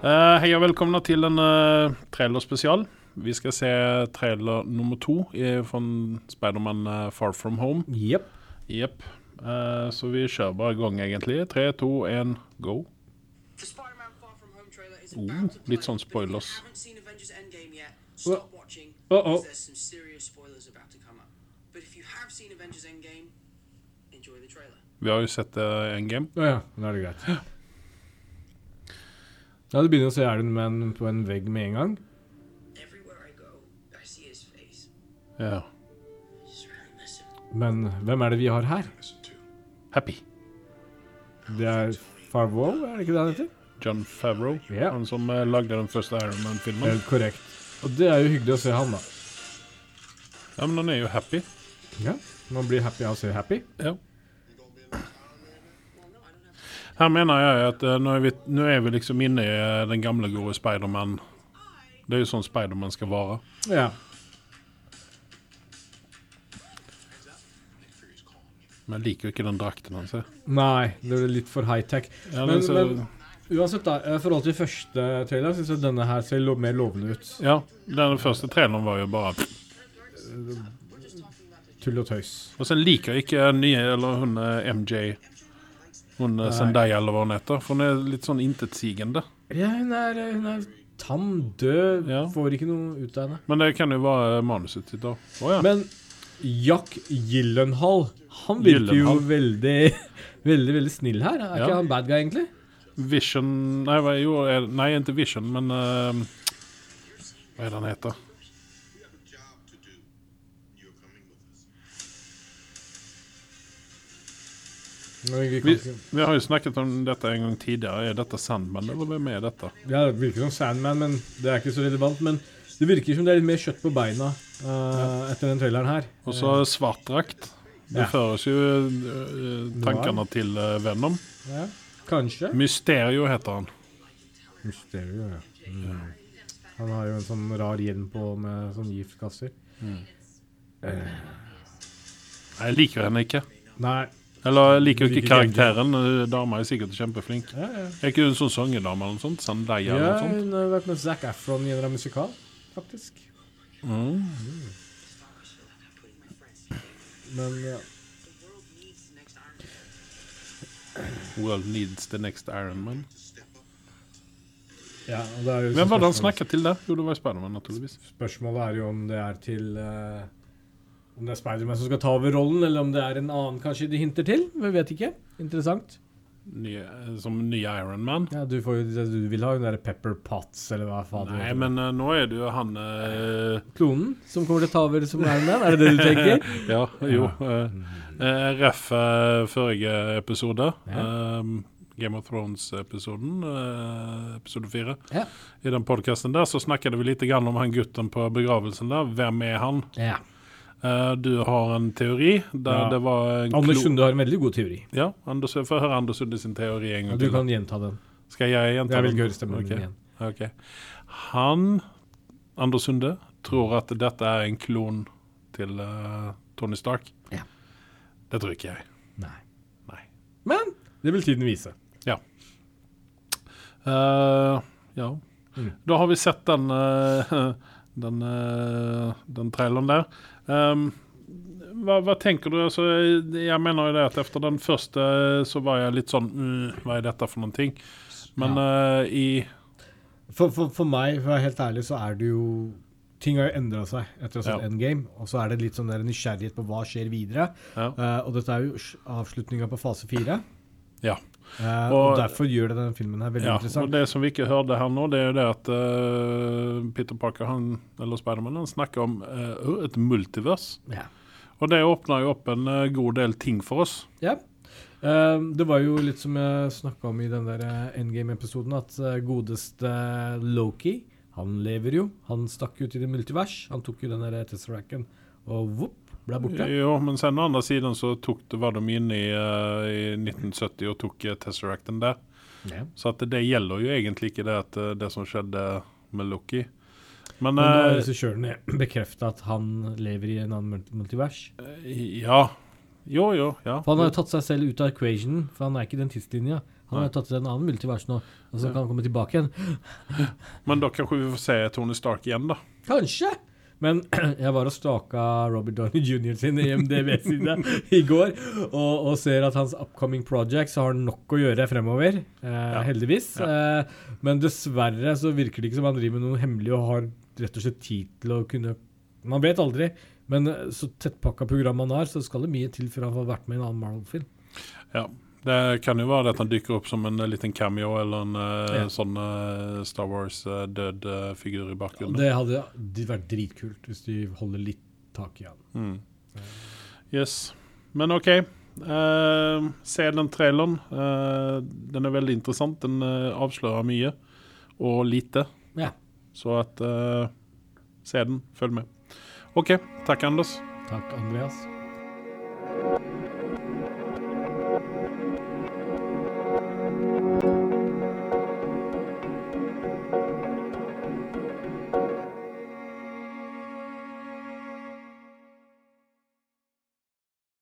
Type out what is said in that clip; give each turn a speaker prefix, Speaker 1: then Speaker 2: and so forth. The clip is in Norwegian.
Speaker 1: Eh, Hei og velkomne til en eh, trailerspesial. Vi skal se trailer nummer to i- fra Spiderman eh, Far From Home.
Speaker 2: Jepp.
Speaker 1: Jepp. Eh, så vi kjører bare i gang, egentlig. Tre, to, én, go.
Speaker 3: The Spider-Man Far From Home trailer is
Speaker 1: Ooh,
Speaker 3: about to play,
Speaker 1: litt sånn
Speaker 3: but if you
Speaker 1: spoilers. Uh,
Speaker 3: haven't seen Avengers Endgame yet, stop watching
Speaker 2: Uh-oh.
Speaker 3: because there's some serious spoilers about to come up. But if you have seen Avengers Endgame, enjoy the trailer.
Speaker 1: Vi har jo sett eh, Endgame.
Speaker 2: Å ja, da er det greit. Ja, du begynner å se Iron Man på en vegg med en gang.
Speaker 3: Everywhere I go, I see his face.
Speaker 1: Ja.
Speaker 3: I just really miss him.
Speaker 2: Men hvem er det vi har her?
Speaker 1: Happy.
Speaker 2: Det er Farwo, er det ikke det han heter?
Speaker 1: John Favreau.
Speaker 2: Ja.
Speaker 1: Han som eh, lagde den første Iron Man-filmen.
Speaker 2: Helt korrekt. Og det er jo hyggelig å se han, da.
Speaker 1: Ja, men han er jo happy.
Speaker 2: Ja, Man blir happy av å se Happy.
Speaker 1: Ja.
Speaker 3: Well, no, I don't have
Speaker 1: Her mener jeg at eh, nå er vi, nå er vi liksom inne i eh, den gamle, gode Spiderman. Det er jo sånn Spiderman skal være.
Speaker 2: Ja.
Speaker 1: Men jeg liker jo ikke den drakten hans. jeg.
Speaker 2: Nei, det er litt for high-tech.
Speaker 1: Ja,
Speaker 2: Men,
Speaker 1: men, så,
Speaker 2: men uansett, da, i forhold til første trailer syns jeg denne her ser lo mer lovende ut.
Speaker 1: ja, den første traileren var jo bare
Speaker 2: Tull og tøys.
Speaker 1: Og så liker jeg ikke nye, eller hun eh, MJ. Hun eh, Zendaya, eller hva hun heter. For hun er litt sånn intetsigende.
Speaker 2: Ja, hun er, hun er tam, død,
Speaker 1: Ja.
Speaker 2: får ikke noe ut av henne.
Speaker 1: Men det kan jo være eh, manuset sitt òg. Å ja.
Speaker 2: Men Jack Gyllenhaal, han virker
Speaker 1: Gyllenhaal.
Speaker 2: jo veldig, veldig veldig snill her. Er
Speaker 1: Ja.
Speaker 2: ikke han bad guy, egentlig?
Speaker 1: Vision Nei, hva, jo, er, nei ikke Vision, men eh, Hva er det han
Speaker 4: We
Speaker 1: heter?
Speaker 4: have a job to do. You're coming with us.
Speaker 1: Vi, vi har jo snakket om dette en gang tidligere. Er dette Sandman, eller hvem er dette?
Speaker 2: Ja, det virker som Sandman, men det er ikke så relevant. Men det virker som det er litt mer kjøtt på beina eh, etter den traileren her.
Speaker 1: Og så svart drakt. Det
Speaker 2: Eh. Ja.
Speaker 1: føres jo eh, tankene til eh, Venom.
Speaker 2: Ja. Kanskje.
Speaker 1: Mysterio heter han.
Speaker 2: Mysterio, ja. Han har jo en sånn rar hjelm på med sånn giftkasser.
Speaker 1: Nei, Jeg liker henne ikke.
Speaker 2: Nei.
Speaker 1: Eller jeg liker jo
Speaker 2: Liker
Speaker 1: ikke karakteren. Eh, Dama er sikkert kjempeflink.
Speaker 2: Ja, ja.
Speaker 1: Er ikke hun sånn sangedame eller noe sånt? Zendaya
Speaker 2: ja,
Speaker 1: eller noe sånt?
Speaker 2: hun har vært med Zac Efron i en eller annen musikal, faktisk.
Speaker 3: I feel like I'm putting my friends in danger.
Speaker 2: Men ja.
Speaker 3: The world needs the next
Speaker 1: World needs the
Speaker 3: Iron Man.
Speaker 1: next Iron Man.
Speaker 2: ja og det er jo
Speaker 1: Hvem var det han snakket til der? Jo, det var Spiderman, naturligvis.
Speaker 2: Spørsmålet er jo om det er til eh, Om det er Spiderman som skal ta over rollen, eller om det er en annen kanskje de hinter til. Vi vet ikke. Interessant.
Speaker 1: Nye, eh, som nye Iron Man.
Speaker 2: Ja, Du får jo det du vil ha, hun derre Pepper Potts, eller hva faen.
Speaker 1: Nei,
Speaker 2: heter.
Speaker 1: men eh, nå er det jo han eh,
Speaker 2: Klonen som kommer til å ta over som Iron Man, er det det du tenker?
Speaker 1: Ja, jo. eh, eh, ref eh, forrige episode. eh, Game of Thrones-episoden, eh, episode fire.
Speaker 2: Ja.
Speaker 1: I den podkasten der så snakket vi litt grann om han gutten på begravelsen der. Hvem er han?
Speaker 2: ja.
Speaker 1: Eh, du har en teori der
Speaker 2: Ja.
Speaker 1: det var en
Speaker 2: Anders
Speaker 1: klo-
Speaker 2: Sunde har en veldig god teori.
Speaker 1: Ja, Anders, Få høre Anders Sunde sin teori en gang
Speaker 2: Du
Speaker 1: til.
Speaker 2: kan gjenta den.
Speaker 1: Skal jeg gjenta
Speaker 2: Jeg vil
Speaker 1: den?
Speaker 2: ikke høre stemmen
Speaker 1: Ok,
Speaker 2: din igjen.
Speaker 1: ok. Han, Anders Sunde, tror at dette er en klon til eh, Tony Stark.
Speaker 2: Ja.
Speaker 1: Det tror ikke jeg.
Speaker 2: Nei.
Speaker 1: Nei.
Speaker 2: Men det vil tiden vise.
Speaker 1: Eh, ja.
Speaker 2: Mm.
Speaker 1: Da har vi sett den, eh, den, eh, den traileren der. Ehm, hva, hva tenker du? Altså, jeg mener jo det at etter den første så var jeg litt sånn mm, Hva er dette for noen ting? Men eh, i
Speaker 2: For, for, for meg, for å være helt ærlig, så er det jo Ting har jo endra seg etter å ha sett
Speaker 1: Ja.
Speaker 2: Endgame. Og så er det litt sånn der nysgjerrighet på hva skjer videre.
Speaker 1: Ja.
Speaker 2: Eh, og dette er jo avslutninga på fase fire.
Speaker 1: Ja.
Speaker 2: eh, og,
Speaker 1: Og-
Speaker 2: derfor gjør det denne filmen her veldig
Speaker 1: ja. Og
Speaker 2: interessant.
Speaker 1: det som vi ikke hørte her nå, det er jo det at eh, Peter Parker, han, eller Spiderman, han snakker om eh, et multivers.
Speaker 2: Ja.
Speaker 1: Og det åpner jo opp en eh, god del ting for oss.
Speaker 2: Ja. Eh, det var jo litt som jeg snakka om i den der eh, Endgame-episoden, at eh, godeste Loki, han lever jo. Han stakk ut i det multivers. Han tok jo den der Tesseracken og vopp, ble borte.
Speaker 1: Jo, men sen å andra sidan så tok det, var de inne i, eh, i 1970 og tok eh, Tesseracten der.
Speaker 2: Ja.
Speaker 1: Så at det gjelder jo egentlig ikke det, at, eh, det som skjedde med Loki. Men,
Speaker 2: Men da har
Speaker 1: eh,
Speaker 2: liksom- regissøren bekrefta at han lever i en annen multivers.
Speaker 1: ja, Jo, jo. Ja.
Speaker 2: For han har jo tatt seg selv ut av equationen, for han er ikke i den tidslinja. Han har jo tatt til en annen multivers nå, og så kan han komme tilbake igjen.
Speaker 1: Men da kanskje vi får se Tony Stark igjen, da.
Speaker 2: Kanskje! Men jeg var og staka Robert Downey Jr. sin IMDb-side i går, og, og ser at hans upcoming projects har nok å gjøre fremover. Eh, Heldigvis. Eh, men dessverre så virker det ikke som han driver med noe hemmelig og har rett og slett tid til å kunne Man vet aldri, men eh, så tettpakka program han har, så skal det mye til før han får vært med i en annen Marvel-film.
Speaker 1: Ja. Det kan jo være at han dykker opp som en eh, liten cameo eller en eh,
Speaker 2: Ja.
Speaker 1: sånn eh, Star Wars-død figur i
Speaker 2: Og
Speaker 1: bakgrunnen.
Speaker 2: det hadde det vært dritkult hvis de holder litt tak i han.
Speaker 1: Yes. Men OK. Eh, se den traileren. Eh, den er veldig interessant. Den eh, avslører mye og lite.
Speaker 2: Ja.
Speaker 1: Så at eh, Se den. Følg med. OK. Takk, Anders.
Speaker 2: Takk, Andreas.